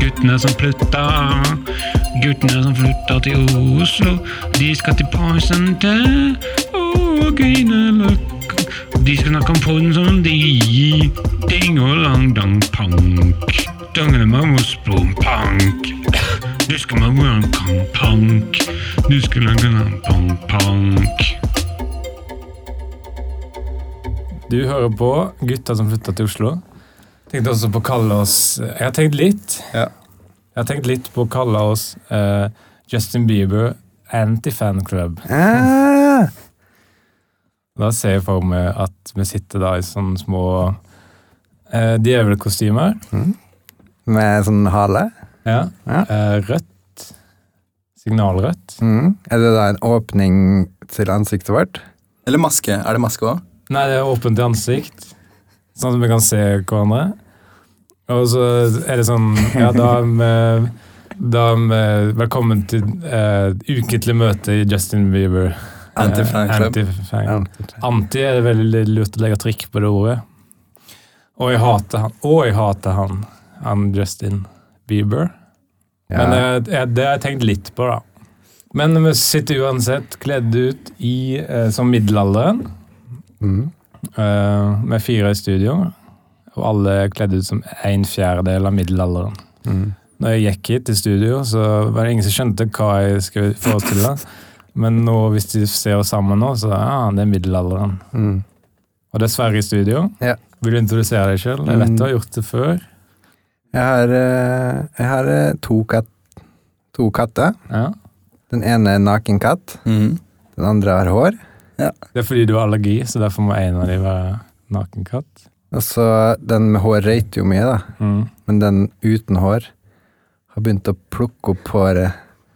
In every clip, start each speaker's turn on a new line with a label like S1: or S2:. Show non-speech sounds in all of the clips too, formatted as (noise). S1: Guttene som flytta, guttene som flytta til Oslo. De skal til Poison til og Grünerløkka. De skal snakke om porn som de. Ding og lang dang pank. Dangelemang og sprompank. Du skal man gå lang kang pank. Du skal lang lang pank pank.
S2: Du hører på gutta som flytta til Oslo. Tenkte også på å kalle oss eh, Jeg har tenkt litt.
S3: Ja.
S2: Jeg har tenkt litt på å kalle oss eh, Justin Bieber Anti-Fan Club.
S3: Ah,
S2: Da ser jeg for meg at vi sitter da i sånne små eh, djevelkostymer.
S3: med sånn hale.
S2: Ja.
S3: Ja.
S2: Eh, rødt. Signalrødt.
S3: Mm. Er det da en åpning til ansiktet vårt?
S4: Eller maske. Er det maske òg?
S2: Nei, det er åpent i ansikt, sånn at vi kan se hverandre. Og så er det sånn Ja, da er vi, da er vi Velkommen til eh, ukentlig møte i Justin Bieber. Eh,
S4: Anti-fan club.
S2: anti-fan. Anti er det veldig lurt å legge trykk på det ordet. Og jeg hater han. Og jeg hater han. Han Justin Bieber. Men
S3: Ja.
S2: eh, jeg, det har jeg tenkt litt på, da. Men vi sitter uansett kledd ut i, eh, som middelalderen.
S3: Mm.
S2: Eh, med fire i studio, og alle er kledd ut som en fjerdedel av middelalderen.
S3: Mm.
S2: Når jeg gikk hit til studio, så var det ingen som skjønte hva jeg skulle forestille. Men nå, hvis de ser oss sammen nå, så ja, det er middelalderen.
S3: Mm.
S2: Og det er Sverre i studio.
S3: Ja. Mm.
S2: Vil du introdusere deg sjøl? Jeg vet du har gjort det før.
S3: Jeg har, eh, jeg har eh, to, kat to katter.
S2: Ja.
S3: Den ene er en nakenkatt,
S4: Mm.
S3: den andre har hår.
S2: Det er fordi du har allergi, så derfor må en av dem være nakenkatt.
S3: Og så den med hår røyter jo mye, da.
S2: Mm.
S3: Men den uten hår har begynt å plukke opp håret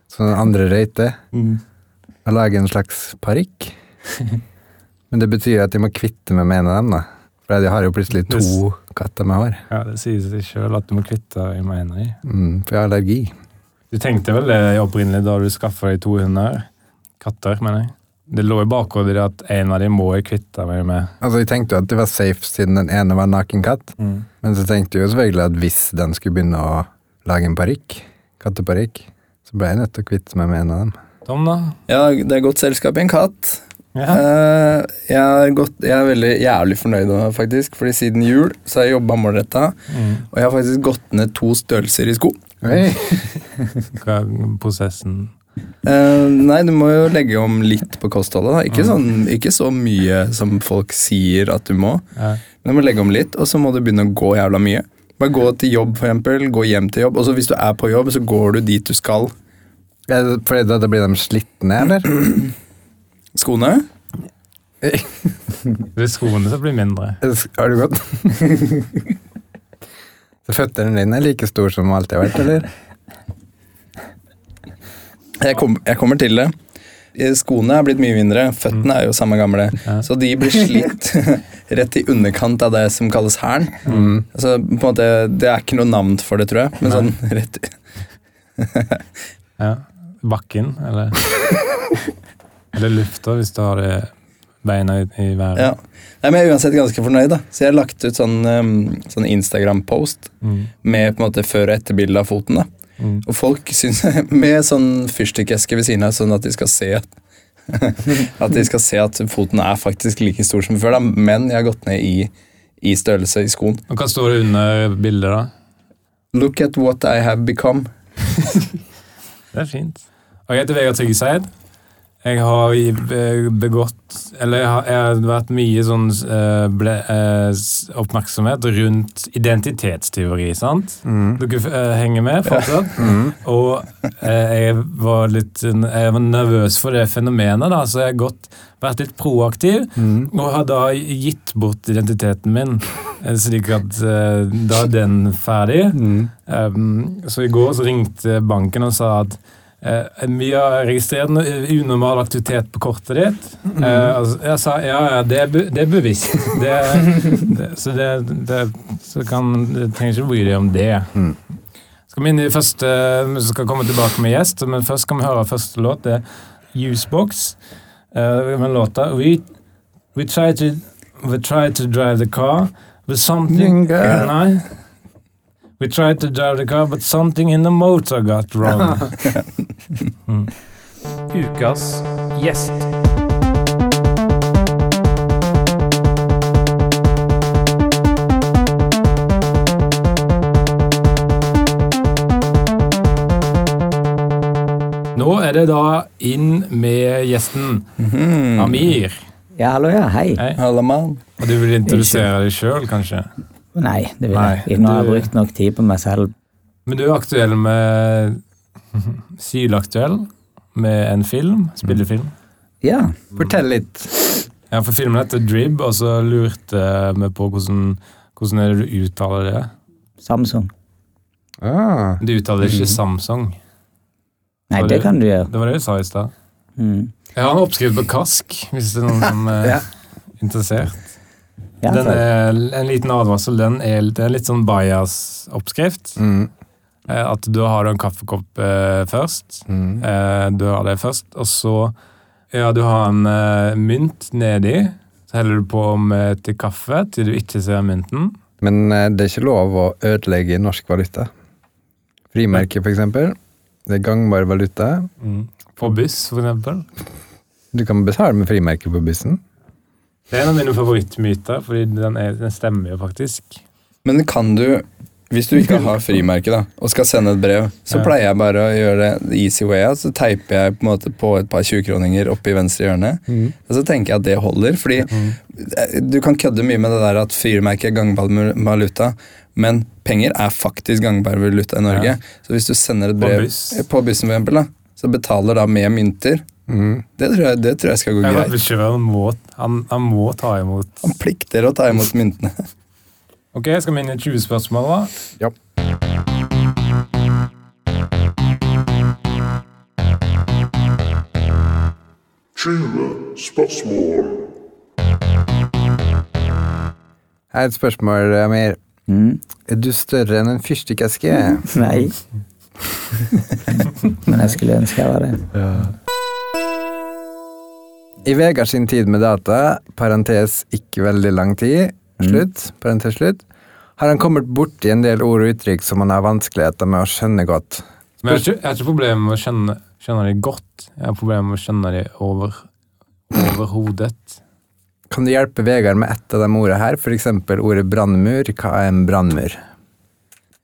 S3: som den andre røyter,
S4: Mm.
S3: og lage en slags
S4: (laughs)
S3: parykk. Men det betyr at jeg må kvitte meg med en av dem, da. For jeg har jo plutselig to katter med hår.
S2: Ja, det sier seg sjøl at du må kvitte deg med en av dem.
S3: Mm, for jeg har allergi.
S2: Du tenkte vel det opprinnelig da du skaffa deg to hunder? Katter, mener jeg. Det lå i bakhodet ditt at en av dem må jeg kvitte meg med.
S3: Altså, Jeg tenkte jo at det var safe siden den ene var en nakenkatt. Men så tenkte jeg jo selvfølgelig at hvis den skulle begynne å lage en parykk, katteparykk, så ble jeg nødt til å kvitte meg med en av dem.
S2: Tom, da?
S4: Ja, det er godt selskap i en katt.
S2: Ja.
S4: Eh, jeg, har gått, jeg er veldig jævlig fornøyd nå, faktisk, fordi siden jul så har jeg jobba målretta. Og jeg har faktisk gått ned to størrelser i sko.
S3: Oi.
S2: Hva er prosessen?
S4: Eh, nei, du må jo legge om litt på kostholdet. da. Ikke, sånn, ikke så mye som folk sier at du må,
S2: Ja.
S4: men du må legge om litt, og så må du begynne å gå jævla mye. Bare gå til jobb, for eksempel. Gå hjem til jobb. Og så hvis du er på jobb, så går du dit du skal.
S3: Er det Fordi da, da blir de slitne, eller?
S4: Skoene?
S2: Det er skoene som blir mindre.
S3: Er det- Har du gått? så føttene dine er like store som de alltid har vært, eller?
S4: Jeg, kom, jeg kommer til det. Eh, Skoene er blitt mye mindre, føttene er jo samme gamle.
S2: Ja.
S4: Så de
S3: (laughs)
S4: blir slitt rett i underkant av det som kalles hælen.
S3: Mm.
S4: Altså, på en måte, det er ikke noe navn for det, tror jeg. Men sånn rett
S2: Ja. Bakken, eller Eller lufta, hvis du har det beina i, i været.
S4: ja. Nei, men Jeg er uansett ganske fornøyd, da. Så jeg har lagt ut sånn, ehm, sånn Instagram-post
S2: Mm.
S4: med på en måte før- og etterbilde av foten. da.
S2: Mm.
S4: Og folk syns (laughs) Med sånn fyrstikkeske ved siden av, sånn at de skal se at (laughs) At de skal se at foten er faktisk like stor som før, da. men jeg har gått ned i, i størrelse i skoen.
S2: Og hva står det under bildet, da?
S4: Look at what I have become.
S2: Det er fint. Og jeg heter Vegard Tryggeseid. Jeg har i- be- begått Eller jeg har, jeg har vært mye sånn eh, ble, eh, s- oppmerksomhet rundt identitetsteori, sant? Dere eh, henger med fortsatt?
S3: Mm.
S2: Og eh, jeg var litt n- jeg var nervøs for det fenomenet, da, så jeg har gått, vært litt proaktiv. Og har da gitt bort identiteten min, eh, slik at eh, da er den ferdig. Um, så i går så ringte banken og sa at eh, vi har registrert noe unormal aktivitet på kortet ditt. Eh, altså, jeg sa ja, ja, det er, be, det er bevisst. Det, det, så det, det så kan, du trenger ikke bry deg om det. Skal vi inn i første, vi skal komme tilbake med gjest, men først skal vi høre første låt. Det er Usebox eh, med låta We, we, try to, we try to drive the car, but something
S3: Jingle.
S2: Nei. We tried to drive the car, but something in the motor got wrong. Hmm.
S5: Ukas gjest.
S2: Nå er det da inn med gjesten. Amir.
S6: Ja, hallo, ja. Hei.
S2: Hei.
S4: Halla, mann.
S2: Og du vil introdusere deg sjøl, kanskje?
S6: Nei, det vil
S2: Nei,
S6: jeg ikke. Nå har jeg
S2: du-
S6: brukt nok tid på meg selv.
S2: Men du er aktuell med (laughs) Sylaktuell med en film. Spillefilm.
S6: Ja.
S3: Fortell litt.
S2: Ja, for filmen heter Drib, og så lurte vi på hvordan, hvordan er det du uttaler det.
S6: Samsung.
S3: Ah,
S2: Du uttaler ikke Samsung.
S6: Nei,
S2: Har
S6: det
S2: du-
S6: kan du gjøre.
S2: Det var det du sa i stad.
S6: Mm.
S2: Jeg har en oppskrift på KASK, hvis det er noen (laughs) som er
S3: Ja.
S2: interessert.
S6: Ja,
S2: Den
S6: takk.
S2: er en liten advarsel. Den er, det er litt sånn bias-oppskrift.
S3: mm,
S2: Eh, At da har du en kaffekopp eh, først.
S3: mm.
S2: Eh, Du har det først, og så Ja, du har en eh, mynt nedi. Så heller du på med til kaffe til du ikke ser mynten.
S3: Men eh, det er ikke lov å ødelegge norsk valuta. Frimerke, for eksempel. Det er gangbar valuta.
S2: På buss, for eksempel.
S3: Du kan betale med frimerke på bussen.
S2: Det er en av mine favorittmyter, fordi den, er, den stemmer jo faktisk.
S4: Men kan du, hvis du ikke har frimerke da, og skal sende et brev, så
S2: Ja.
S4: pleier jeg bare å gjøre det the easy way. out, Så teiper jeg på en måte på et par 20-kroninger oppe i venstre hjørne.
S3: Mm.
S4: Og så tenker jeg at det holder, fordi eh, du kan kødde mye med det der at frimerke er gangbar mu- valuta, men penger er faktisk gangbar valuta i Norge.
S2: Ja.
S4: Så hvis du sender et
S2: På
S4: brev
S2: buss.
S4: eh, på bussen for eksempel, da, så betaler da med mynter.
S3: Mm.
S4: Det tror jeg, det tror jeg skal gå
S2: Jeg vet
S4: greit.
S2: ikke, han, må, han, han må ta imot.
S4: Han plikter å ta imot myntene.
S2: Ok, skal vi inn i 20 spørsmål, da?
S3: Ja. Her er et spørsmål, Amir.
S6: Mm.
S3: Er du større enn en fyrstikkeske?
S2: (laughs)
S6: Nei. Men jeg skulle ønske jeg var det.
S3: I Vegard sin tid med data, parentes ikke veldig lang tid, slutt, parentes slutt, har han kommet borti en del ord og uttrykk som han har vanskeligheter med å skjønne godt.
S2: Men jeg har ikke, jeg har ikke problemer med å skjønne, skjønne de godt. Jeg har problemer med å skjønne de over, over hodet.
S3: Kan du hjelpe Vegard med ett av de ordene her, f.eks. ordet brannmur? Hva er en brannmur?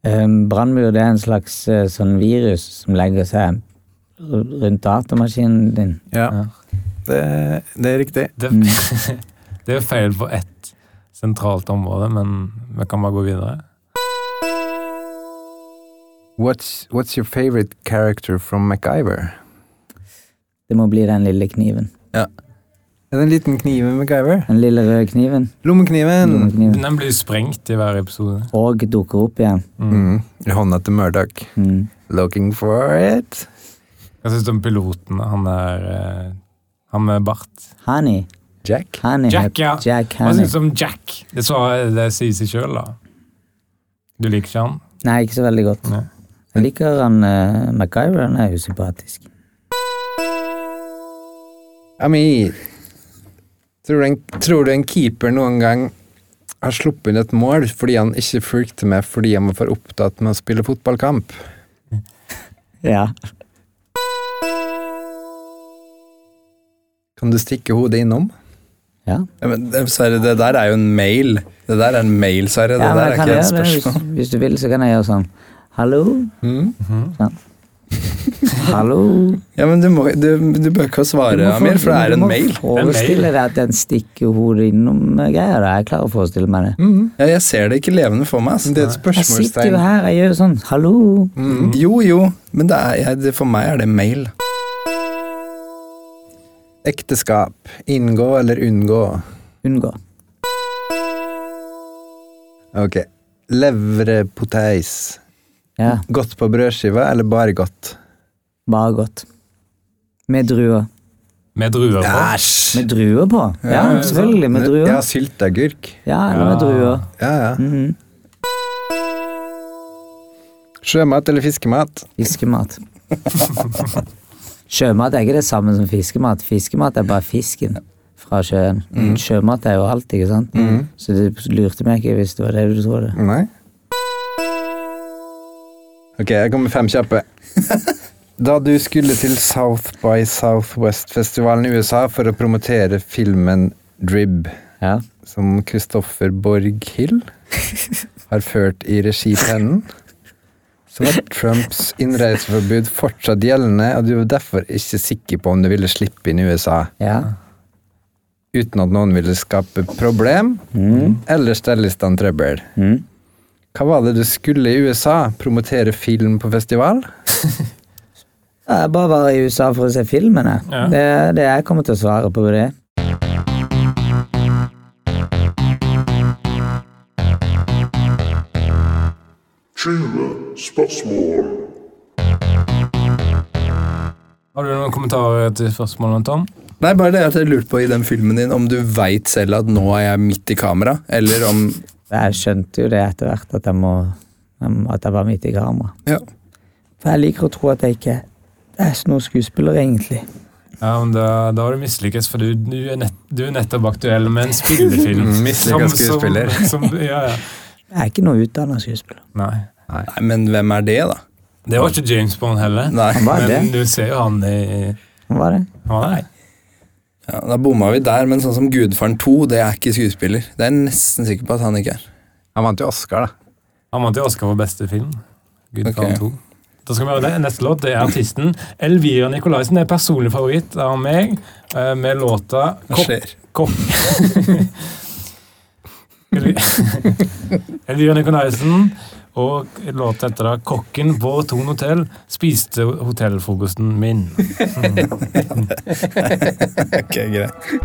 S6: Um, Brannmur det er en slags eh, sånn virus som legger seg r- rundt datamaskinen din.
S3: Ja,
S2: Ja.
S3: Det, er riktig.
S2: Det, (laughs) det er jo feil på ett sentralt område, men vi kan bare gå videre.
S3: What's, what's your favorite character from MacGyver?
S6: Det må bli den lille kniven.
S3: Er det en liten kniv i MacGyver?
S6: Den lille røde kniven.
S3: Lommekniven!
S6: Lommekniven.
S2: Den blir jo sprengt i hver episode.
S6: Og dukker opp igjen.
S3: Mm. I hånda til Murdoch.
S6: Mm.
S3: Looking for it.
S2: Hva syns du om piloten? Han er eh, Han med bart.
S6: Honey.
S3: Jack?
S6: Honey
S2: Jack,
S6: het-
S2: ja.
S6: Jack
S2: Hva
S6: Honey.
S2: syns du om Jack? Det, så, det sier seg sjøl, da. Du liker ikke han?
S6: Nei, ikke så veldig godt.
S2: Nei.
S6: Jeg liker han eh, MacGyver, han er usympatisk.
S3: Amir, tror du, en, tror du en keeper noen gang har sluppet inn et mål fordi han ikke fulgte med fordi han var for opptatt med å spille fotballkamp?
S6: Ja.
S3: Kan du stikke hodet innom?
S6: ja.
S4: Ja, men det- Sverre, det der er jo en mail. Det der er en mail, Sverre. Det der
S6: ja men
S4: er
S6: jeg kan
S4: ikke et
S6: gjøre det. Hvis,
S4: spørsmål.
S6: hvis du vil, så kan jeg gjøre sånn. Hallo?
S3: Mm.
S4: Mhm.
S6: Hallo?
S4: Ja, men du, må, du, du bør ikke å
S6: Du
S4: svare,
S6: må
S4: Amir, for det
S6: for-
S4: er
S6: du
S4: en
S6: må
S4: mail.
S6: Forestille deg at den stikker hodet innom-greia. Jeg klarer å forestille meg det.
S4: Ja, jeg ser det ikke levende for meg. ass.
S3: Det er et
S6: Mm. Jeg sitter
S3: spørsmålstegn.
S6: jo her, jeg gjør sånn. Hallo?
S4: Mm. Jo, jo, men det er, jeg, det, for meg er det mail.
S3: Ekteskap. Inngå eller unngå?
S6: Unngå.
S3: Ok. Leverpoteis.
S6: Ja,
S3: Godt på brødskiva eller bare godt?
S6: bare godt. Med druer.
S2: Med druer på?
S3: Æsj!
S6: Med druer på? Ja, selvfølgelig. Med
S3: Ja,
S6: druer.
S3: sylteagurk.
S6: Ja, eller med druer.
S3: Ja, ja.
S6: Mhm.
S3: Sjømat eller fiskemat?
S6: Fiskemat. Sjømat er ikke det samme som fiskemat. Fiskemat er bare fisken fra sjøen. Sjømat er jo alt, ikke sant? Så du lurte meg ikke hvis det var det du trodde.
S3: Nei. Ok, jeg kommer med fem kjappe. Da du skulle til South by Southwest-festivalen i USA for å promotere filmen Drib,
S6: Ja.
S3: som Kristoffer Borg-Hill har ført i regipennen, så var Trumps innreiseforbud fortsatt gjeldende, og du var derfor ikke sikker på om du ville slippe inn i USA
S6: ja.
S3: uten at noen ville skape problem
S6: Mm.
S3: eller stelle i stand trøbbel.
S6: Mm.
S3: Hva var det du skulle i USA? Promotere film på festival?
S6: Ja, Jeg bare var i USA for å se filmene.
S2: Ja.
S6: Det er det jeg kommer til å svare på. det.
S7: Tjena, spørsmål.
S2: Har du noen kommentarer til spørsmålene, Tom?
S4: Nei, bare det at jeg lurte på i den filmen din om du veit selv at nå er jeg midt i kamera, eller om
S6: Jeg skjønte jo det etter hvert, at jeg, må, at jeg var midt i kamera.
S4: Ja.
S6: For jeg liker å tro at jeg ikke jeg er noen skuespiller, egentlig.
S2: Ja, men Da, da har du mislykkes, for du, du, er nett, du er nettopp aktuell med en spillefilm.
S3: Mm,
S2: Som-
S3: mislykket
S2: som-
S3: skuespiller.
S2: Som, ja, ja.
S6: Jeg er ikke noe utdanna skuespiller.
S2: Nei.
S4: Nei, men hvem er det, da?
S2: Det var ikke James Bond heller.
S4: Nei.
S6: Han var det.
S2: Men du ser jo han i
S6: Hva var det?
S2: Han er
S4: Ja, da bomma vi der, men sånn som Gudfaren 2, det er ikke skuespiller. Det er jeg nesten sikker på at han ikke er.
S3: Han vant jo Oscar, da.
S2: Han vant jo Oscar for beste film. Gudfaren
S4: Ok.
S2: 2. Da skal vi høre det. Neste låt det er artisten Elvira Nikolaisen. er personlig favoritt av meg, eh, med låta
S4: Hva
S2: Kopp-
S4: skjer?
S2: Kopp. Elvi- (laughs) Elvira Nikolaisen og låta etter da 'Kokken på Thon hotell spiste hotellfrokosten min'.
S4: Ok, greit.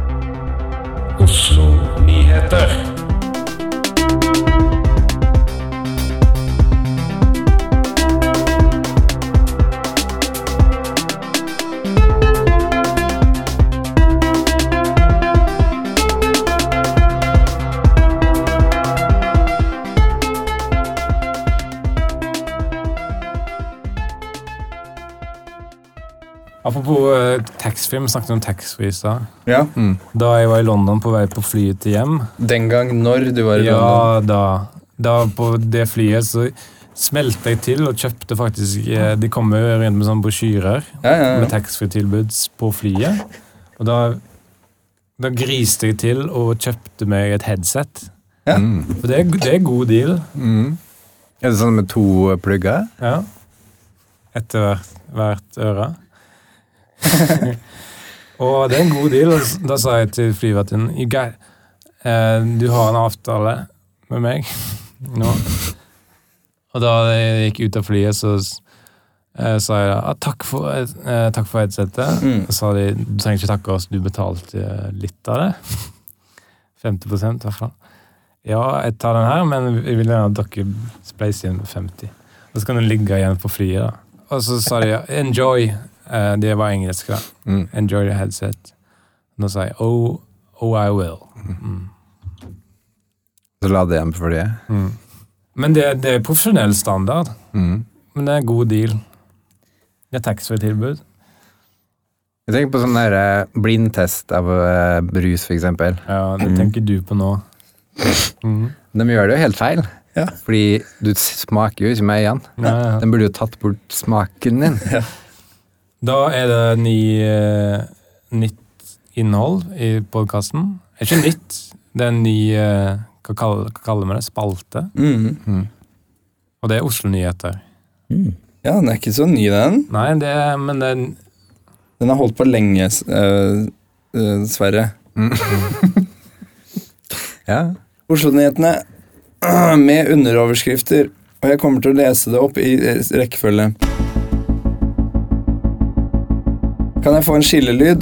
S2: Apropos eh, taxfree, vi snakket om taxfree i stad.
S4: Ja.
S2: Da jeg var i London på vei på flyet til hjem,
S4: Den gang når du var i London.
S2: Ja da. Da på det flyet så smelte jeg til og kjøpte faktisk eh, De kommer jo rundt med sånne brosjyrer
S4: Ja, ja,
S2: med
S4: ja.
S2: taxfree-tilbud på flyet. Og da, da griste jeg til og kjøpte meg et headset.
S4: Ja.
S3: Mm.
S2: For det, er- det er god deal.
S3: Er det sånn med to eh, plugger?
S2: Ja. Etter hvert, hvert øre. og det er en god deal. og s- Da sa jeg til flyvertinnen «You guy, eh, Du har en avtale med meg nå. Og da jeg gikk ut av flyet, så s- eh, sa jeg da, ah, takk for, eh, takk for headsetet.
S4: Mm.
S2: Så sa de du trenger ikke takke oss, du betalte eh, litt av det. (laughs) 50 i hvert fall. Ja, jeg tar den her, men jeg vil gjerne at dere spleiser inn 50. Og så kan den ligge igjen på flyet. da. Og så sa de 'enjoy'. Eh, det var engelsk, da.
S3: Mm.
S2: 'Enjoy the headset'. Nå sa jeg 'oh, oh I will'. Mm.
S3: Så la det igjen for det.
S2: Men det, det er profesjonell standard.
S3: Mm.
S2: Men det er en god deal. Det er taxfree-tilbud.
S3: Jeg tenker på sånn der eh, blindtest av eh, brus, for eksempel.
S2: Ja, det tenker du på nå. Mm.
S3: De gjør det jo helt feil.
S4: Ja.
S3: Fordi du s- smaker jo ikke med øynene.
S2: Ja, ja.
S3: De burde jo tatt bort smaken din.
S2: Da er det ny, eh, nytt innhold i podkasten. Det er ikke nytt, det er en ny eh, hva, kaller, hva kaller vi det? Spalte.
S4: Mm.
S2: Og det er Oslo-nyheter.
S4: ja, den er ikke så ny, den.
S2: Nei, det er, men det er,
S4: Den har holdt på lenge, s- øh, øh, Sverre.
S3: Ja.
S4: Oslo-nyhetene (clears throat) øh, med underoverskrifter. Og jeg kommer til å lese det opp i eh, rekkefølge. Kan jeg få en skillelyd?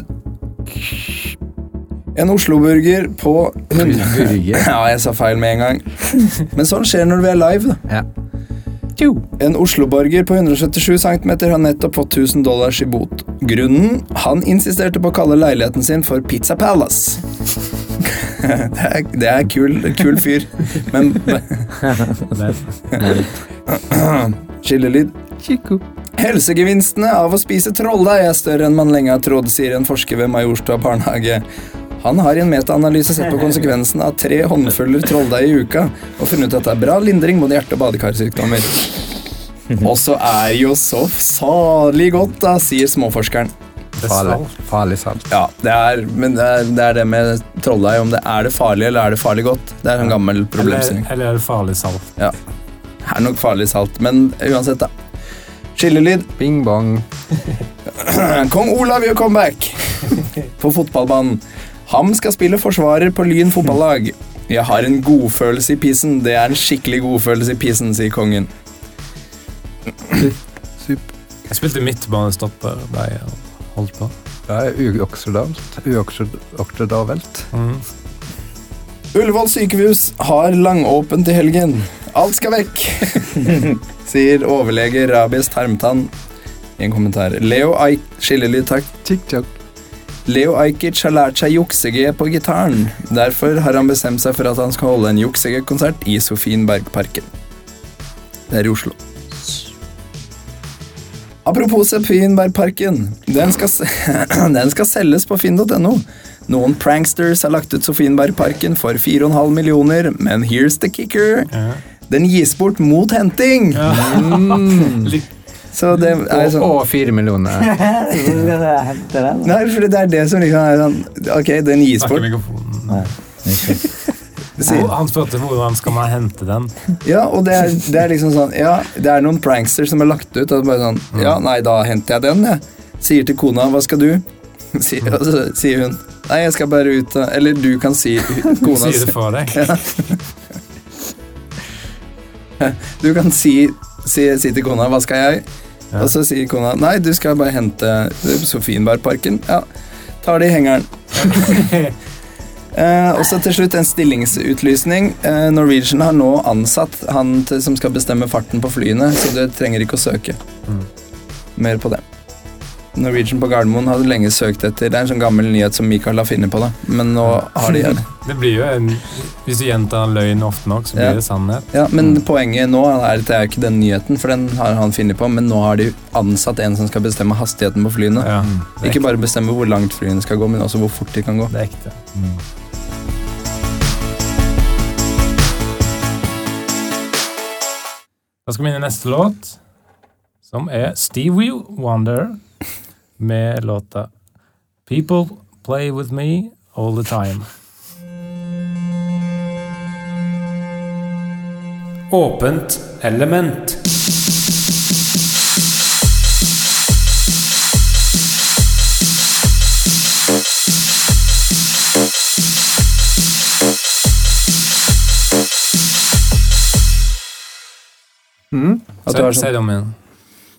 S4: En Oslo-burger på 100
S3: Burger.
S4: Ja, jeg sa feil med en gang. Men sånn skjer når vi er live, da.
S3: Ja.
S4: En Oslo-borger på 177 cm har nettopp fått 1000 dollars i bot. Grunnen? Han insisterte på å kalle leiligheten sin for Pizza Palace. (laughs) Det er, det er kul, kul fyr, men (clears throat)
S2: det er
S4: Skillelyd. Helsegevinstene av å spise trolldeig er større enn man lenge har trodd, sier en forsker ved Majorstua barnehage. Han har i en metaanalyse sett på konsekvensen av tre håndfuller trolldeig i uka, og funnet ut at det er bra lindring mot hjerte- og badekarsykdommer. Og så er jo så salig godt, da, sier småforskeren.
S3: Farlig, farlig salt.
S4: Ja, det er, men det er det, er det med trolldeig, om det er det farlig eller er det farlig godt. Det er en gammel
S2: Eller,
S4: problemstilling.
S2: eller er det farlig salt?
S4: Ja. Det er nok farlig salt, men uansett, da. Skillelyd.
S3: Bing bong.
S4: Kong Olav gjør comeback på fotballbanen. Ham skal spille forsvarer på Lyn fotballag. Jeg har en godfølelse i pisen. Det er en skikkelig godfølelse i pisen, sier kongen.
S2: Jeg spilte midtbanestopper da jeg holdt på.
S3: Det er uoksidabelt. Uoksidabelt.
S4: Ullevål sykehus har langåpent i helgen. Alt skal vekk, (laughs) sier overlege Rabies Termtan i en kommentar. Leo Eik... Skillelyd, takk.
S3: Chick-chock.
S4: Leo Ajkic har lært seg juksege på gitaren. Derfor har han bestemt seg for at han skal holde en juksegekonsert i Sofienbergparken. Det er i Oslo. Apropos Sofienbergparken. Den skal, se- (clears throat) den skal selges på finn.no. Noen pranksters har lagt ut Sofienbergparken for 4,5 millioner, men here's the kicker. Den gis bort mot henting! Mm. Så det er sånn
S3: Og, og fire
S2: (laughs)
S3: millioner.
S4: Nei, for det er det som liksom er sånn Ok, den gis
S2: Snakker
S4: bort.
S2: mikrofonen.
S4: sier-
S2: Og Han spurte hvordan skal man hente den.
S4: Ja, og det er, det er liksom sånn Ja, det er noen pranksters som er lagt ut, og det er bare sånn
S2: Mm.
S4: Ja, nei, da henter jeg den, jeg. Sier til kona 'hva skal du?' (laughs) Sier,
S2: Mm.
S4: og så sier hun 'nei, jeg skal bare ut og Eller du kan si
S2: (laughs)
S4: kona
S2: Sier det for deg.
S4: Du kan si, si, si til kona 'hva skal jeg?'
S2: Ja.
S4: Og så sier kona 'nei, du skal bare hente Sofienbergparken'. Ja, tar det i hengeren. Eh, og så til slutt en stillingsutlysning. Eh, Norwegian har nå ansatt han til, som skal bestemme farten på flyene, så du trenger ikke å søke. Mer på det. Norwegian på Gardermoen hadde lenge søkt etter Det er en sånn gammel nyhet som Michael har funnet på, da. Men nå har de
S2: Det blir jo en, Hvis du gjentar en løgn ofte nok, så
S4: Ja.
S2: blir det sannhet.
S4: Ja, men poenget nå er at det er jo ikke den nyheten, for den har han funnet på, men nå har de ansatt en som skal bestemme hastigheten på flyene.
S2: Ja, det, er
S4: Ikke bare bestemme hvor langt flyene skal gå, men også hvor fort de kan gå.
S2: det er ekte. Da skal vi inn i neste låt, som er Stevie Wonder med låta People Play With Me All The Time.
S5: Åpent element.
S4: Hmm? At du
S2: Si
S4: har
S2: si
S4: sånn,
S2: det om igjen.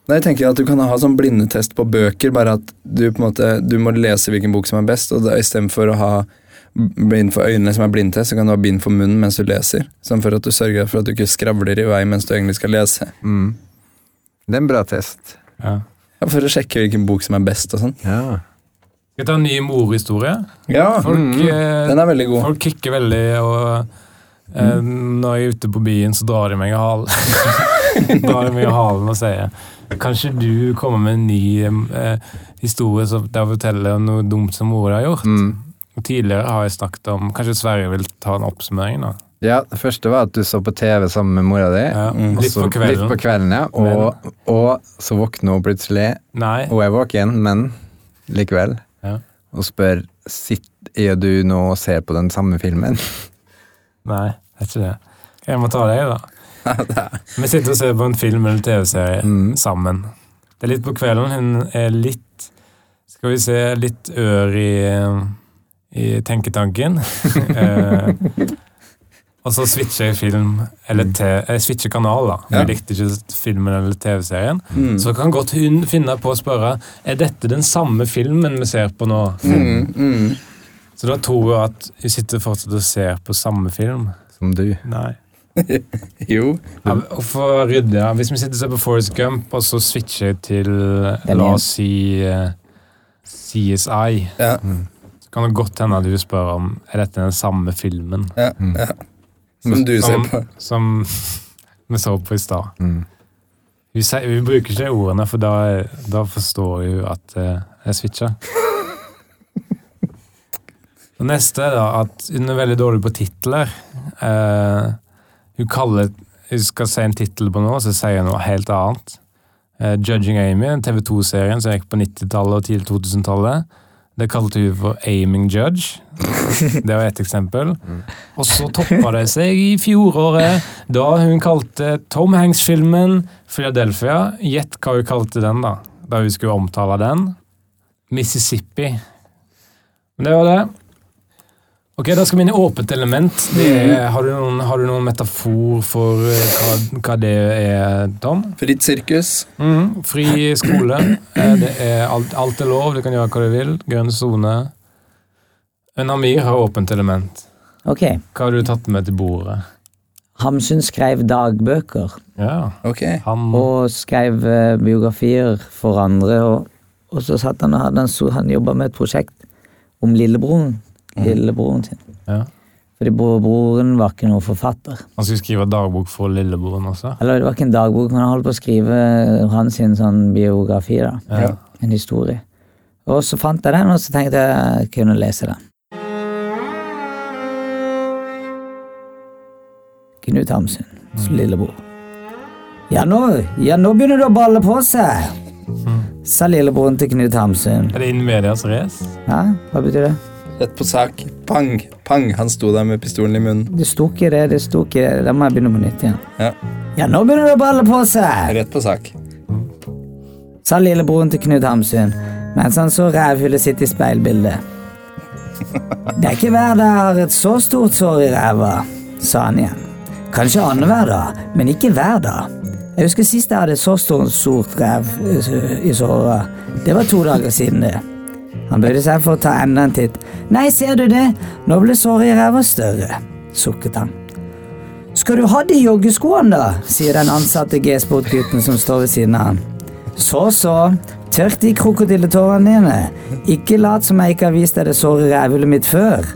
S4: nei, jeg tenker at du kan ha sånn blindetest på bøker, bare at du på en måte, du må lese hvilken bok som er best, og da istedenfor å ha bind for øynene som er blindtest, så kan du ha bind for munnen mens du leser. Sånn for at du sørger for at du ikke skravler i vei mens du egentlig skal lese.
S3: Mm. Det er en bra test.
S2: Ja.
S4: Ja, for å sjekke hvilken bok som er best og sånn.
S3: Ja.
S2: Skal vi ta en ny morhistorie?
S4: Ja,
S2: Folk, eh,
S4: Mm, den er veldig god. Mm.
S2: Folk kikker veldig, og eh, når jeg er ute på byen, så drar de meg i halen. (laughs) drar de meg i halen og sier Kanskje du kommer med en ny eh, historie som der jeg forteller om noe dumt som mora har gjort?
S3: Mm.
S2: Tidligere har jeg snakket om Kanskje Sverre vil ta en oppsummering, da?
S3: Ja, det første var at du så på TV sammen med mora di.
S2: Ja,
S3: og
S2: Litt
S3: så-
S2: på kvelden.
S3: Litt på kvelden, ja. Og, og så våkner hun plutselig,
S2: Nei.
S3: og er våken, men likevel,
S2: Ja.
S3: og spør sitt, er du nå og ser på den samme filmen?
S2: Nei, det er ikke det. Jeg må ta deg, da. Vi sitter og ser på en film eller TV-serie
S4: Mm.
S2: sammen. Det er litt på kvelden. Hun er litt Skal vi se litt ør i, i tenketanken.
S4: (laughs)
S2: Eh, og så switcher jeg film eller te, jeg switcher kanal, da.
S4: Mm. Ja.
S2: Jeg likte ikke filmen eller TV-serien.
S4: Mm.
S2: Så kan godt hun finne på å spørre er dette den samme filmen vi ser på nå.
S4: Mm, mm.
S2: Så da tror jeg at hun sitter fortsatt og ser på samme film.
S3: Som du.
S2: Nei.
S4: Jo.
S2: Ja, og for å rydde, ja. Hvis vi sitter og ser på Forest Gump, og så switcher jeg til
S6: Den
S2: La
S6: igjen.
S2: oss si eh, CSI,
S4: Ja.
S2: Mm. så kan det godt hende at du spør om er dette den samme filmen
S4: Ja,
S3: Mm.
S4: ja. Som du ser
S2: som,
S4: på.
S2: som (laughs) vi så på i stad.
S3: Mm.
S2: Vi, sier- vi bruker ikke de ordene, for da, da forstår hun at eh, jeg switcher. Og neste er da at hun er veldig dårlig på titler. Eh, hun kaller jeg skal si en tittel på noe, så sier jeg noe helt annet. Eh, 'Judging Amy', TV 2-serien som gikk på 90-tallet og tidlig 2000-tallet. Det kalte hun for 'Aiming Judge'. Det var ett eksempel. Og så toppa det seg i fjoråret, da hun kalte Tom Hanks-filmen 'Philadelphia'. Gjett hva hun kalte den, da. Da hun skulle omtale den. 'Mississippi'. Men det var det. Ok, Da skal vi inn i åpent element. Det er, har, du noen, har du noen metafor for eh, hva, hva det er, Tom?
S4: Fritt sirkus.
S2: Mhm, Fri skole. Eh, Det er alt, alt er lov, du kan gjøre hva du vil. Grønn sone. Men Amir har åpent element.
S6: Ok.
S2: Hva har du tatt med til bordet?
S6: Hamsun skrev dagbøker,
S2: Ja,
S4: Ok.
S2: han
S6: og skrev eh, biografier for andre. Og, og så satt han og hadde han, så- han jobba med et prosjekt om lillebroren, lillebroren sin.
S2: ja.
S6: Fordi bro- broren var ikke noen forfatter.
S2: Han skulle skrive dagbok for lillebroren også.
S6: Eller det var ikke en dagbok, men han holdt på å skrive hans sin sånn biografi. da.
S2: Ja.
S6: En historie. Og så fant jeg den, og så tenkte jeg jeg kunne lese den. Knut Hamsun, lillebror. Ja nå, ja, nå begynner det å balle på seg, sa lillebroren til Knut Hamsun.
S2: Er det innen medias race?
S6: Ja, hva betyr det?
S4: Rett på sak. Pang, pang. Han sto der med pistolen i munnen.
S6: Det sto ikke det, det sto ikke det. Da må jeg begynne på nytt igjen.
S4: Ja.
S6: Ja, nå begynner det å balle på seg.
S4: Rett på sak.
S6: sa lillebroren til Knut Hamsun mens han så rævhullet sitt i speilbildet. Det er ikke hver dag jeg har et så stort sår i ræva, sa han igjen. Kanskje annenhver dag, men ikke hver dag. Jeg husker sist jeg hadde et så stort, stort ræv eh, i såret. Det var to dager siden det. Han bøyde seg for å ta enda en titt. Nei, ser du det, nå ble såret i ræva større, sukket han. Skal du ha de joggeskoene, da? sier den ansatte G-sport-gutten som står ved siden av han. Så, så. Tørk de krokodilletårene dine. Ikke lat som jeg ikke har vist deg det såre rævhullet mitt før.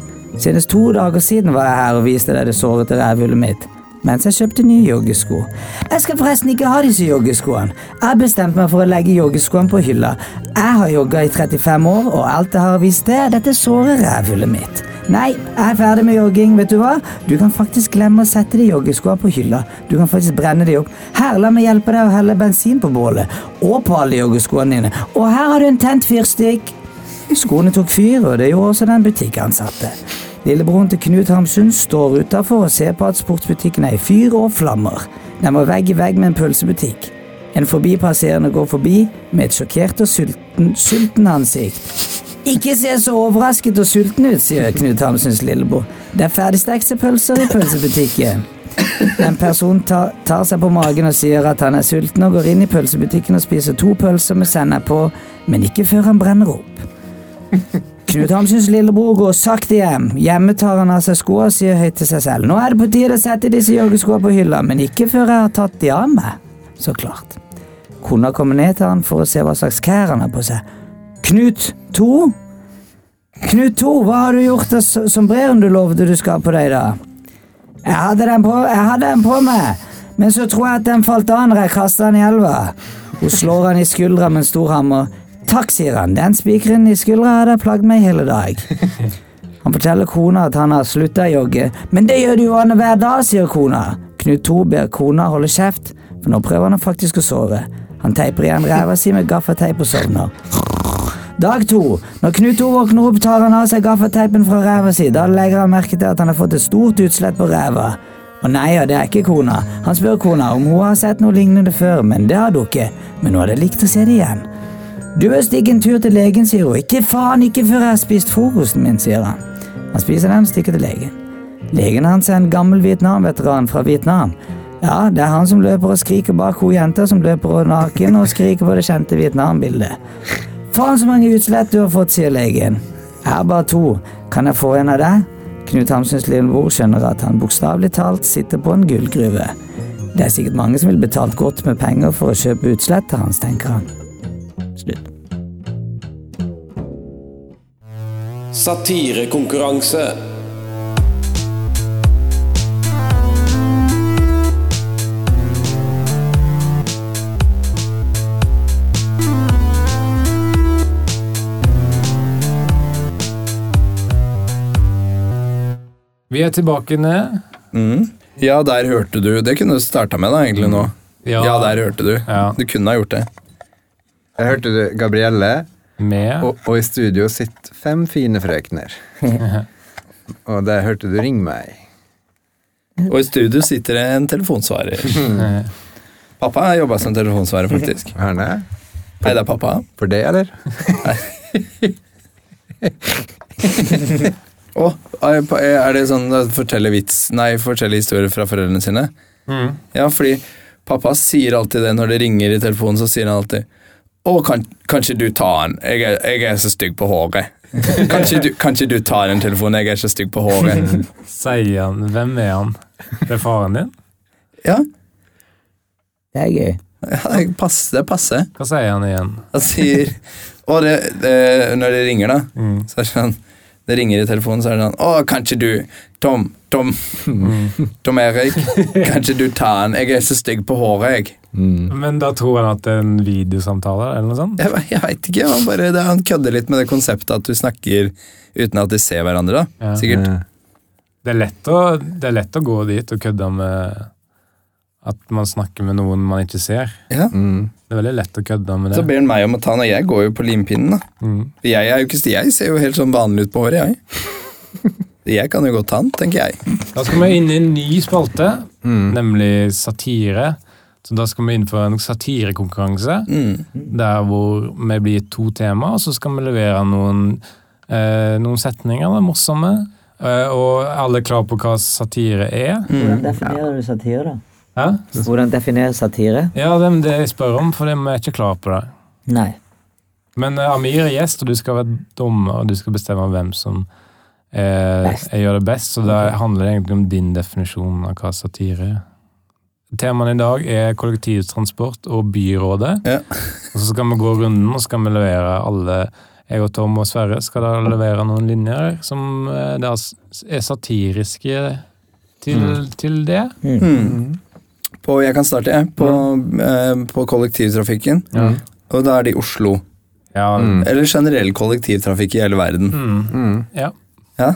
S6: Senest to dager siden var jeg her og viste deg det sårete rævhullet mitt. Mens jeg kjøpte nye joggesko. Jeg skal forresten ikke ha disse joggeskoene. Jeg har bestemt meg for å legge joggeskoene på hylla. Jeg har jogga i 35 år, og alt jeg har vist deg, er dette såre rævhullet mitt. Nei, jeg er ferdig med jogging, vet du hva? Du kan faktisk glemme å sette de joggeskoene på hylla. Du kan faktisk brenne de opp. Her, la meg hjelpe deg å helle bensin på bålet. Og på alle joggeskoene dine. Og her har du en tent fyrstikk. Skoene tok fyr, og det gjorde også den butikkansatte. Lillebroren til Knut Hamsun står utafor og ser på at sportsbutikken er i fyr og flammer. Den var vegg i vegg med en pølsebutikk. En forbipasserende går forbi med et sjokkert og sulten, sulten ansikt. Ikke se så overrasket og sulten ut, sier Knut Hamsuns lillebror. Det er ferdigstekte pølser i pølsebutikken. En person tar, tar seg på magen og sier at han er sulten og går inn i pølsebutikken og spiser to pølser med sennep på, men ikke før han brenner opp. Knut Hamsuns lillebror går sakte hjem. Hjemme tar han av seg skoene og sier høyt til seg selv. Nå er det på tide å sette disse joggeskoene på hylla, men ikke før jeg har tatt de av meg. Så klart. Kona kommer ned til han for å se hva slags klær han har på seg. Knut 2? Knut 2, hva har du gjort av s- sombreren du lovde du skal ha på deg, da? Jeg hadde den på, jeg hadde den på meg, men så tror jeg at den falt av når jeg kastet den i elva. Hun slår han i skuldra med en stor hammer. Takk, sier han, den spikeren i skuldra hadde plagd meg hele dag. Han forteller kona at han har slutta å jogge, men det gjør du jo Anne hver dag, sier kona. Knut 2 ber kona holde kjeft, for nå prøver han faktisk å sove. Han teiper igjen ræva si med gaffateip og sovner. Dag to. Når Knut O våkner opp, tar han av seg gaffateipen fra ræva si. Da legger han merke til at han har fått et stort utslett på ræva. Og nei, ja, det er ikke kona. Han spør kona om hun har sett noe lignende før, men det har hun ikke. Men hun hadde likt å se det igjen. Du bør stikke en tur til legen, sier hun. Ikke faen, ikke før jeg har spist frokosten min, sier han. Han spiser den og stikker til legen. Legen hans er en gammel Vietnam-veteran fra Vietnam. Ja, det er han som løper og skriker bak hun jenta som løper og naken og skriker på det kjente Vietnam-bildet. Faen så mange utslett du har fått, sier legen. Jeg har bare to. Kan jeg få en av deg? Knut Hamsuns lillebror skjønner at han bokstavelig talt sitter på en gullgruve. Det er sikkert mange som vil betalt godt med penger for å kjøpe utslettet hans, tenker han. Slutt.
S8: Satirekonkurranse.
S2: Vi er tilbake ned.
S4: Mm. Ja, der hørte du. Det kunne du starta med da, egentlig nå. Ja, der hørte du.
S2: Ja.
S4: Du kunne ha gjort det.
S3: Jeg hørte du, Gabrielle,
S2: Med
S3: og, og i studio sitter fem fine
S2: (laughs)
S3: frøkner. Og der hørte du Ring meg.
S4: Og i studio sitter det en telefonsvarer.
S2: eh,
S4: Pappa har jobba som telefonsvarer, faktisk.
S3: Herne?
S4: Hei, det er pappa.
S3: For det, eller?
S4: Å, er det sånn at forteller vits Nei, forteller historier fra foreldrene sine? Ja, fordi pappa sier alltid det når det ringer i telefonen, så sier han alltid Å, kan, kanskje du tar den? Jeg er, jeg er så stygg på håret. Kanskje du, kanskje du tar den telefonen? Jeg er så stygg på håret.
S2: sier han Hvem er han? Det er faren din?
S4: Ja,
S6: Det er gøy.
S4: ja, det passer. Det passer.
S2: Hva sier han igjen?
S4: Han sier Og det, det, når det ringer, da,
S2: Mm.
S4: så er det sånn Det ringer i telefonen, så er det sånn Å, kanskje du, Tom, Tom,
S2: Mm.
S4: Tom Erik, kanskje du tar den? Jeg er så stygg på håret, jeg.
S2: Men da tror han at det er en videosamtale eller noe sånt?
S4: Jeg, ve- jeg veit ikke. Han, bare, det, han kødder litt med det konseptet at du snakker uten at de ser hverandre, da.
S2: Ja. Mm.
S4: Sikkert.
S3: Eh,
S2: Det er lett å, det er lett å gå dit og kødde med at man snakker med noen man ikke ser.
S4: Ja.
S2: Mm. Det er veldig lett å kødde med
S4: Så
S2: det.
S4: ber han meg om å ta den, og jeg går jo på limpinnen, da.
S2: Mm.
S4: For Jeg, er jo ikke, jeg ser jo helt sånn vanlig ut på håret,
S2: (laughs)
S4: jeg. Jeg kan jo godt ta den, tenker jeg.
S2: Da skal vi inn i en ny spalte, nemlig satire. Så da skal vi innføre en satirekonkurranse, der hvor vi blir gitt to tema, og så skal vi levere noen, eh, noen setninger, da, morsomme. Eh, og alle er klar på hva satire er?
S6: Hvordan definerer du satire, da?
S2: Hæ?
S6: Mm. Hvordan definerer satire?
S2: Ja, det er det jeg spør om, for vi er ikke klar på det.
S6: Nei.
S2: Men eh, Amir er gjest, og du skal være dommer, og du skal bestemme hvem som eh,
S6: Best.
S2: gjør det best. Så det handler det egentlig om din definisjon av hva satire er. Temaene i dag er kollektivtransport og byrådet.
S4: Ja.
S2: Og så skal vi gå runden, og så skal vi levere alle Jeg og Tom og Sverre skal da levere noen linjer som eh, da s- er satiriske til, til det.
S4: Mm. På, jeg kan starte, jeg. På, eh, på kollektivtrafikken. Og da er det i Oslo.
S2: Ja,
S4: Eller generell kollektivtrafikk i hele verden.
S2: Mm. ja
S4: Ja?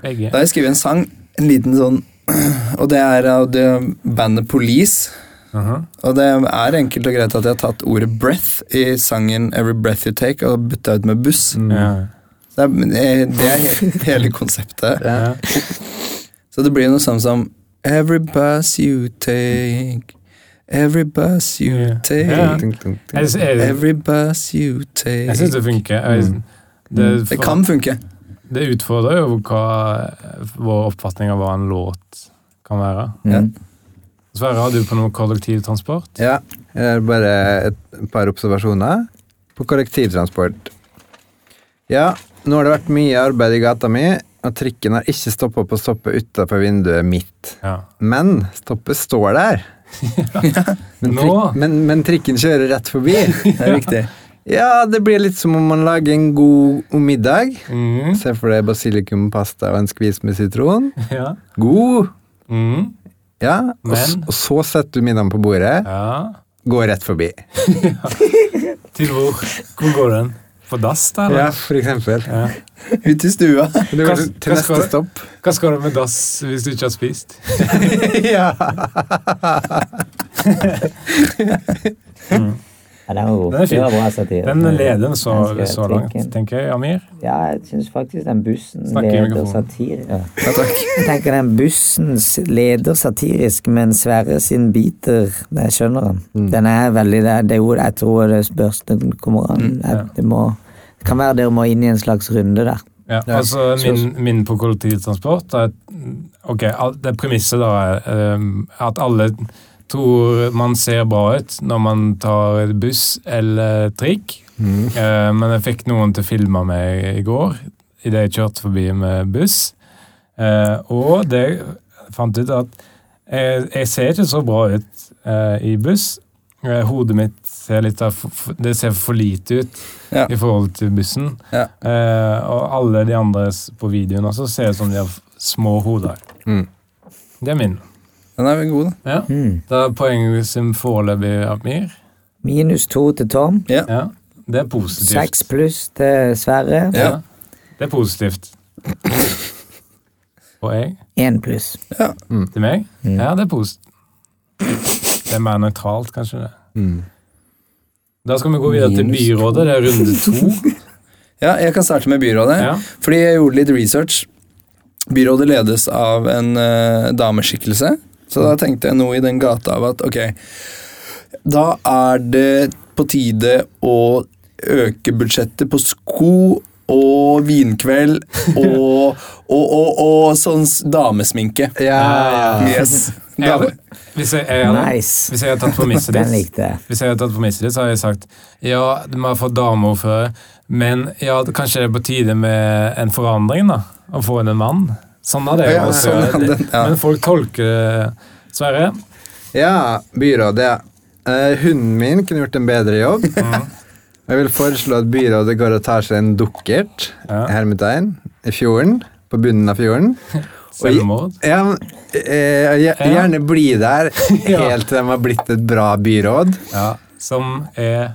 S2: begge.
S4: Da har jeg skrevet en sang, en liten sånn (clears throat) Og det er av det bandet Police.
S2: Mhm.
S4: Og det er enkelt og greit at jeg har tatt ordet 'breath' i sangen 'Every Breath You Take' og bytta ut med 'buss'.
S2: Ja.
S4: Det er, det er he- (laughs) hele konseptet.
S2: Ja.
S4: Så det blir noe sånn som 'Every bus you take, every bus you
S2: Ja.
S4: take,
S2: Ja.
S3: Tung, tung, tung.
S2: Jeg, jeg,
S4: every bus you take'.
S2: jeg syns det funker. Jeg, det,
S4: Det kan funke.
S2: Det utfordrer jo hva vår oppfatning av hva en låt kan være.
S4: Ja.
S2: Sverre, har du på noe kollektivtransport?
S3: Ja, jeg har bare et par observasjoner på kollektivtransport. Ja, nå har det vært mye arbeid i gata mi, og trikken har ikke stoppa på stoppet utafor vinduet mitt.
S2: Ja.
S3: Men stoppet står
S2: (laughs)
S3: der. Men,
S2: Nå?
S3: trikk, men, men trikken kjører rett
S2: (laughs)
S3: forbi.
S4: Det er riktig.
S3: Ja, det blir litt som om man lager en god middag.
S2: Mm,
S3: Se for deg basilikumpasta og en skvis med sitron.
S2: (laughs) ja.
S3: God!
S2: Mm,
S3: Ja, og, s-
S2: Men?
S3: og så setter du middagen på bordet,
S2: ja.
S3: går rett forbi.
S2: Til hvor? Hvor går den? På dass, da?
S3: Ja,
S2: eller?
S3: for eksempel. (laughs)
S4: Ut i stua.
S3: Det går
S2: Hva-
S3: til
S2: hva
S3: neste
S2: skal-
S3: (laughs) stopp.
S2: Hva skal du med dass hvis du ikke har spist?
S3: ja. (laughs)
S6: Ja, den var god.
S2: Den er fin.
S6: Det var bra satire.
S2: Den leder så,
S6: Den skal
S2: så
S6: jeg
S2: langt,
S6: tenke.
S2: tenker jeg. Amir?
S6: Ja, jeg syns faktisk den bussen
S2: Snakk i
S6: leder
S2: mikrofonen.
S6: satire. Ja.
S4: Ja, takk.
S6: (laughs) Jeg tenker den bussen s- leder satirisk, men Sverre sin biter, det skjønner han.
S2: Mm.
S6: Den er veldig det, det er jo jeg tror det spørs den kommer
S2: Mm,
S6: an. Jeg- Det må, det kan være dere må inn i en slags runde der.
S2: Ja, altså min, min på kollektivtransport er, Ok, al- det premisset da er ehm, at alle tror man ser bra ut når man tar buss eller trikk. Eh, men jeg fikk noen til å filme meg i går idet jeg kjørte forbi med buss. Eh, og det fant ut at jeg, jeg ser ikke så bra ut eh, i buss. Eh, hodet mitt ser litt av, f- f- det ser for lite ut
S4: Ja.
S2: i forhold til bussen.
S4: Ja.
S2: Eh, og alle de andre s- på videoen også ser ut som de har f- små hoder.
S3: Mm.
S2: Det er min.
S4: Den er vel god, da.
S2: Ja. Da er poenget sin foreløpig Amir.
S6: Minus to til Tom.
S2: Ja. Det er positivt.
S6: Seks pluss til Sverre.
S4: Ja.
S2: Det er positivt. Og jeg?
S6: Én pluss.
S2: Til meg? Ja, det er positivt. Det er mer nøytralt, kanskje. det. Da skal vi gå videre til
S4: Minus
S2: byrådet. Det er runde to.
S4: Ja, jeg kan starte med byrådet.
S2: Ja.
S4: Fordi jeg gjorde litt research. Byrådet ledes av en eh, dameskikkelse. Så
S2: Mm.
S4: da tenkte jeg noe i den gata av at ok, da er det på tide å øke budsjettet på sko og vinkveld
S2: (laughs)
S4: og, og, og, og sånn s- damesminke.
S3: Ja,
S4: Yes.
S2: Jeg hadde,
S4: Dame.
S2: hvis, jeg, jeg hadde,
S6: Nice.
S2: hvis jeg hadde tatt
S6: (laughs)
S2: premisset
S6: Den
S2: ditt,
S6: likte jeg.
S2: hvis jeg hadde tatt premisset ditt, så hadde jeg sagt ja, vi har fått dameordfører, men ja, det- kanskje det er på tide med en forandring, da. Å få inn en mann. Sånn hadde jeg
S3: Ja,
S2: også
S4: sånn hadde-
S2: det-
S4: ja.
S2: (laughs) Men folk tolker det, Sverre.
S3: ja byrådet. Eh, hunden min kunne gjort en bedre (laughs) jobb. Jeg vil foreslå at byrådet går og tar seg en dukkert
S2: Ja.
S3: hermetegn, i fjorden, på bunnen av fjorden. Og i-
S2: Selvmord.
S3: Ja, men, eh, gjer- gjerne bli (laughs) der
S2: Ja.
S3: helt til de har blitt et bra byråd.
S2: Ja, som er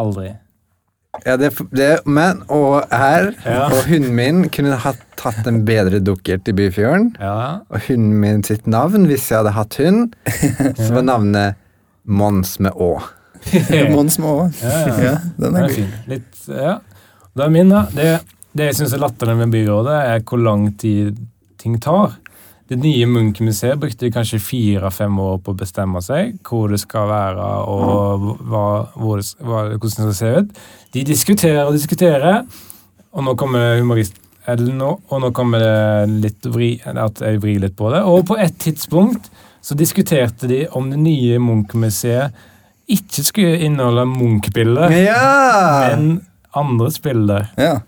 S2: aldri.
S3: Ja, det, det, men, og her,
S2: Ja.
S3: og hunden min kunne ha tatt en bedre dukkert i Byfjorden.
S2: Ja.
S3: Og hunden min sitt navn, hvis jeg hadde hatt
S2: (laughs)
S3: hund, så var navnet Mons med Å.
S4: Mons må også.
S2: ja, ja.
S4: Ja, den
S2: Den
S4: er
S2: er
S4: god.
S2: fin. Litt, ja. Da er min, da. Det, det jeg syns er latterlig med byrådet, er hvor lang tid ting tar. Det nye Munch-museet brukte de kanskje fire-fem år på å bestemme seg hvor det skal være og hva, hvor det, s- hva, hvordan det skal se ut. De diskuterer og diskuterer, og nå kommer humorist... Eller nå, og nå kommer det litt vri, at jeg vrir litt på det. Og på et tidspunkt så diskuterte de om det nye Munch-museet ikke skulle inneholde Munch-bilder
S3: Ja!
S2: enn andre spillere.
S4: Ja.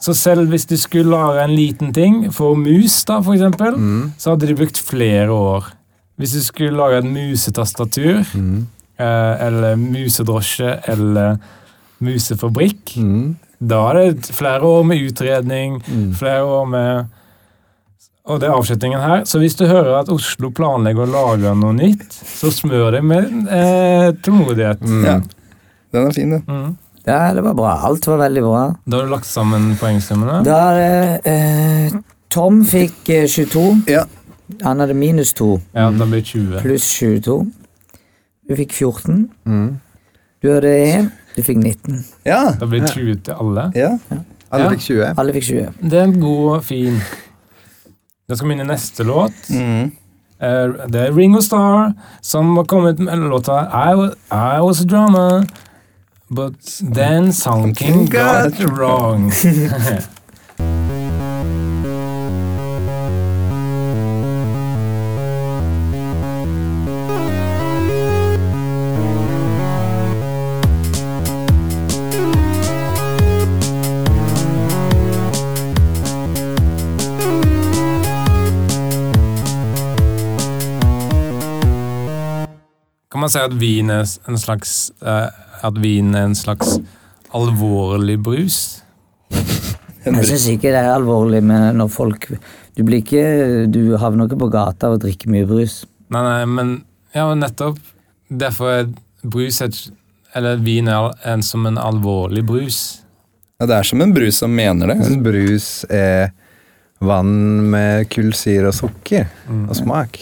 S2: Så selv hvis de skulle lage en liten ting, for mus da, for eksempel,
S4: Mm.
S2: så hadde de brukt flere år. Hvis du skulle lage et musetastatur,
S4: Mm.
S2: eh, eller musedrosje, eller musefabrikk,
S3: Mm.
S2: da er det flere år med utredning,
S4: Mm.
S2: flere år med Og det er avslutningen her. Så hvis du hører at Oslo planlegger å lage noe nytt, så smør deg med eh, tålmodighet.
S4: Mm. ja. Den er fin, den.
S2: Mm.
S6: Ja, det var bra. Alt var veldig bra.
S2: Da har du lagt sammen poengsummene.
S6: Da eh, eh, Tom fikk eh, 22.
S4: Ja.
S6: Han hadde minus 2
S2: Ja, da blir det 20.
S6: pluss 22. Du fikk 14. Du hadde 1. Du fikk 19.
S4: Ja.
S2: Da blir det 20 til alle.
S4: ja.
S3: Alle
S2: Ja.
S3: fikk 20.
S6: Alle fikk 20.
S2: Det er en god, fin Da skal vi inn i neste låt.
S4: Mm.
S2: Eh, Det er Ringo Starr som har kommet med låta I was, I was a drummer, but then something got wrong. Kan man si at vin er en slags eh, At vin er en slags alvorlig brus?
S6: Jeg syns ikke det er alvorlig men når folk Du blir ikke Du havner ikke på gata og drikker mye brus.
S2: Nei, nei, men Ja, men nettopp. Derfor er brus et Eller vin er al- en som en alvorlig brus.
S4: ja. Det er som en brus som mener det.
S3: En brus er vann med kullsyre og sukker
S2: Mm.
S3: og smak.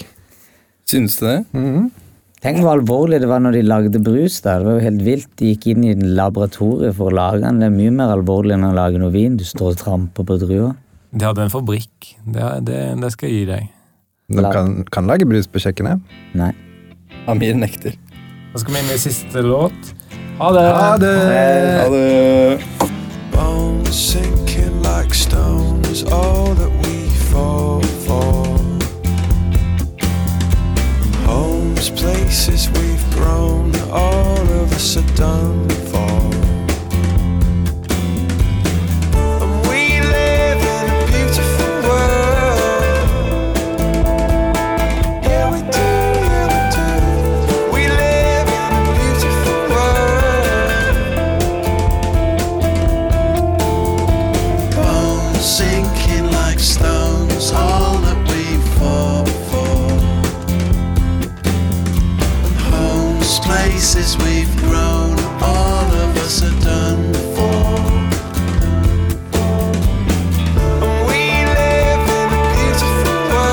S4: Synes du det?
S6: Tenk hvor alvorlig det var når de lagde brus. da. Det var jo helt vilt. De gikk inn i laboratoriet for å lage den. Det er mye mer alvorlig enn å lage noe vin. Du står og tramper på druer.
S2: De hadde en fabrikk. Det, det, det skal jeg gi deg.
S3: De kan, kan lage brus på kjøkkenet.
S6: Nei.
S4: Amir nekter.
S2: Da skal vi inn i siste låt. Ha det!
S3: Ha det!
S4: Ha det.
S8: bones sinking like stone is all that we fall for. Homes, places we've grown, all of us are done for. And we live in a beautiful world. Yeah, we do, yeah, we do. We live in a beautiful world. bones sinking like stones, all that we fall for. And homes, places we've grown, all of us are done for. And we live in a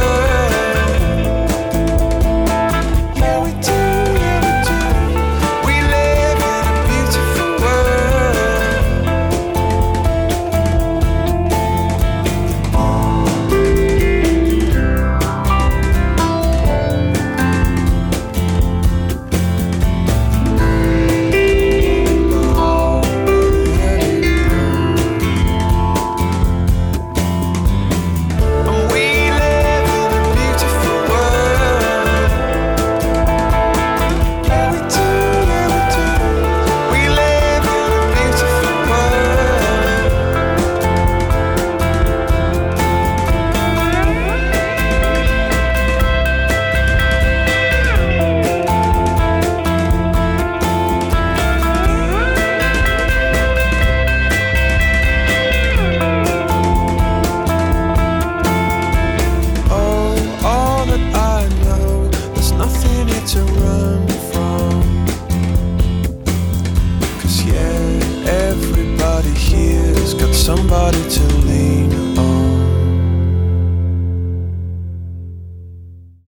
S8: years, got somebody to